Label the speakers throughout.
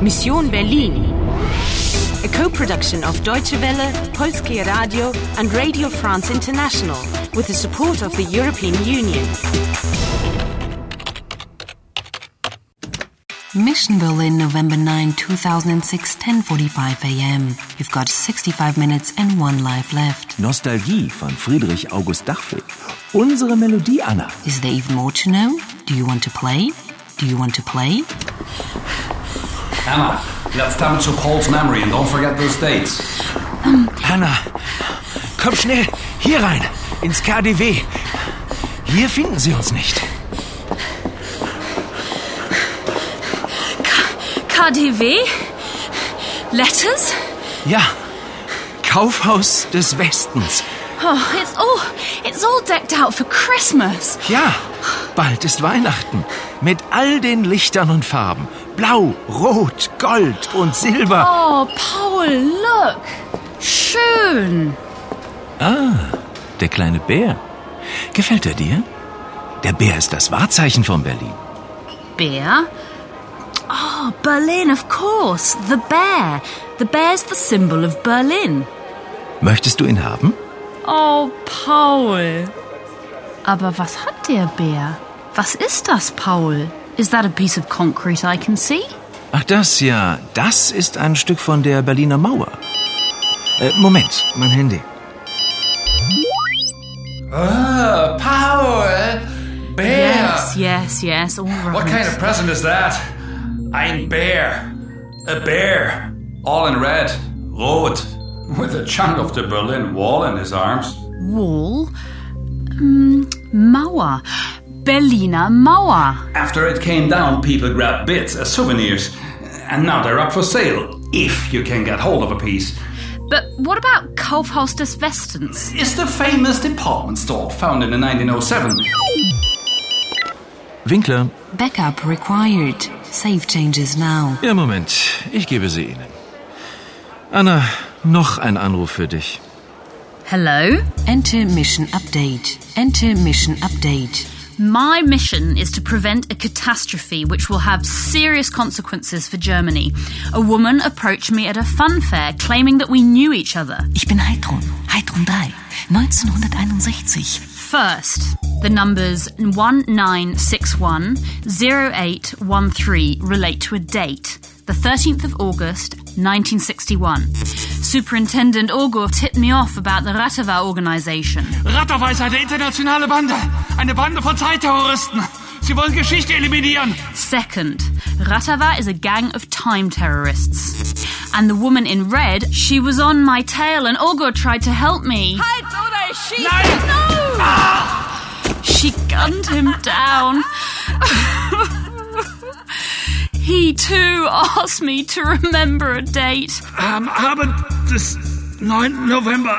Speaker 1: Mission Berlin. A co-production of Deutsche Welle, Polskie Radio and Radio France International with the support of the European Union.
Speaker 2: Mission Berlin, November 9, 2006, 10:45 a.m. You've got 65 minutes and one life left.
Speaker 3: Nostalgie von Friedrich August Dachfeld. Unsere Melodie, Anna.
Speaker 2: Is there even more to know? Do you want to play? Do you want to play?
Speaker 4: Anna, let's damage up Paul's memory and don't forget those dates.
Speaker 3: Anna, komm schnell hier rein, ins KDW. Hier finden Sie uns nicht.
Speaker 5: KDW? eh? Letters?
Speaker 3: Ja, Kaufhaus des Westens.
Speaker 5: Oh, it's all it's all decked out for Christmas.
Speaker 3: Ja, bald ist Weihnachten. Mit all den Lichtern und Farben. Blau, Rot, Gold und Silber.
Speaker 5: Oh, Paul, look. Schön.
Speaker 3: Der kleine Bär. Gefällt er dir? Der Bär ist das Wahrzeichen von Berlin.
Speaker 5: Beer? Oh, Berlin, of course. The bear. The bear's the symbol of Berlin.
Speaker 3: Möchtest du ihn haben?
Speaker 5: Oh, Paul. Aber was hat der Bär? Was ist das, Paul? Is that a piece of concrete I can see?
Speaker 3: Ach das ja, das ist ein Stück von der Berliner Mauer. Äh, Moment, mein Handy.
Speaker 4: Uh, Paul! eh? Bear!
Speaker 5: Yes, yes, yes, all right.
Speaker 4: What kind of present is that? Ein Bär. A bear. All in red. Rot. With a chunk of the Berlin Wall in his arms.
Speaker 5: Wall? Mm, Mauer. Berliner Mauer.
Speaker 4: After it came down, people grabbed bits as souvenirs. And now they're up for sale. If you can get hold of a piece.
Speaker 5: But what about Kaufhaus des Westens?
Speaker 4: It's the famous department store founded in 1907.
Speaker 3: Winkler.
Speaker 2: Backup required. Save changes now.
Speaker 3: Ja, Moment, ich gebe sie Ihnen. Anna, noch ein Anruf für dich.
Speaker 5: Hello?
Speaker 2: Enter mission update. Enter mission update.
Speaker 5: My mission is to prevent a catastrophe which will have serious consequences for Germany. A woman approached me at a fun fair claiming that we knew each other.
Speaker 6: Ich bin Heidrun, Heidrun 3, 1961.
Speaker 5: First, the numbers 1961 0813 relate to a date, the 13th of August 1961. Superintendent Orgov tipped me off about the Ratava organization.
Speaker 7: Ratterweis eine internationale Bande. Eine Bande von Zeitterroristen. Sie wollen Geschichte eliminieren.
Speaker 5: Second, Ratava is a gang of time terrorists. And the woman in red, she was on my tail and Orgov tried to help me.
Speaker 7: Nein!
Speaker 5: She gunned him down. he too asked me to remember a date.
Speaker 7: Am Abend des 9. November.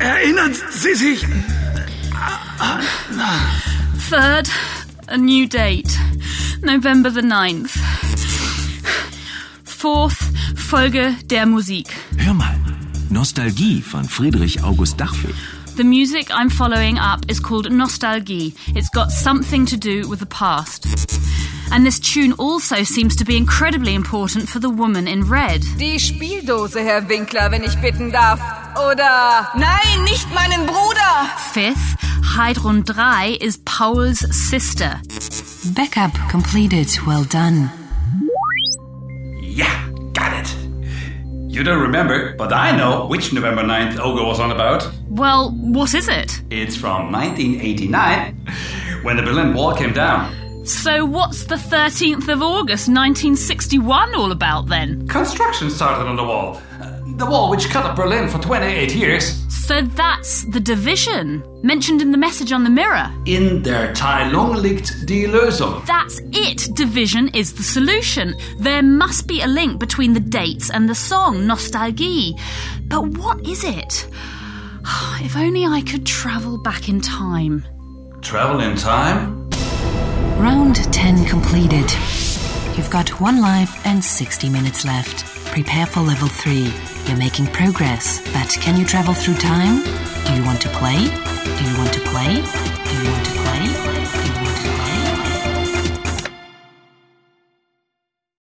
Speaker 7: äh, Erinnern Sie sich?
Speaker 5: Third, a new date. November the 9th. Fourth, Folge der Musik.
Speaker 3: Hör mal, Nostalgie von Friedrich August Dachfeld.
Speaker 5: The music I'm following up is called Nostalgie. It's got something to do with the past. And this tune also seems to be incredibly important for the woman in red.
Speaker 8: Die Spieldose, Herr Winkler, wenn ich bitten darf. Oder nein, nicht meinen Bruder.
Speaker 5: Fifth, Heidrun 3 is Paul's sister.
Speaker 2: Backup completed. Well done.
Speaker 4: Yeah, got it. You don't remember, but I know which November 9th Olga was on about.
Speaker 5: Well, what is it?
Speaker 4: It's from 1989, when the Berlin Wall came down.
Speaker 5: So, what's the 13th of August 1961 all about then?
Speaker 4: Construction started on the wall. Uh, The wall which cut up Berlin for 28 years.
Speaker 5: So, that's the division mentioned in the message on the mirror.
Speaker 4: In der Teilung liegt die Lösung.
Speaker 5: That's it. Division is the solution. There must be a link between the dates and the song, Nostalgie. But what is it? If only I could travel back in time.
Speaker 4: Travel in time?
Speaker 2: Round 10 completed. You've got one life and 60 minutes left. Prepare for level 3. You're making progress, but can you travel through time? Do you want to play? Do you want to play? Do you want to play?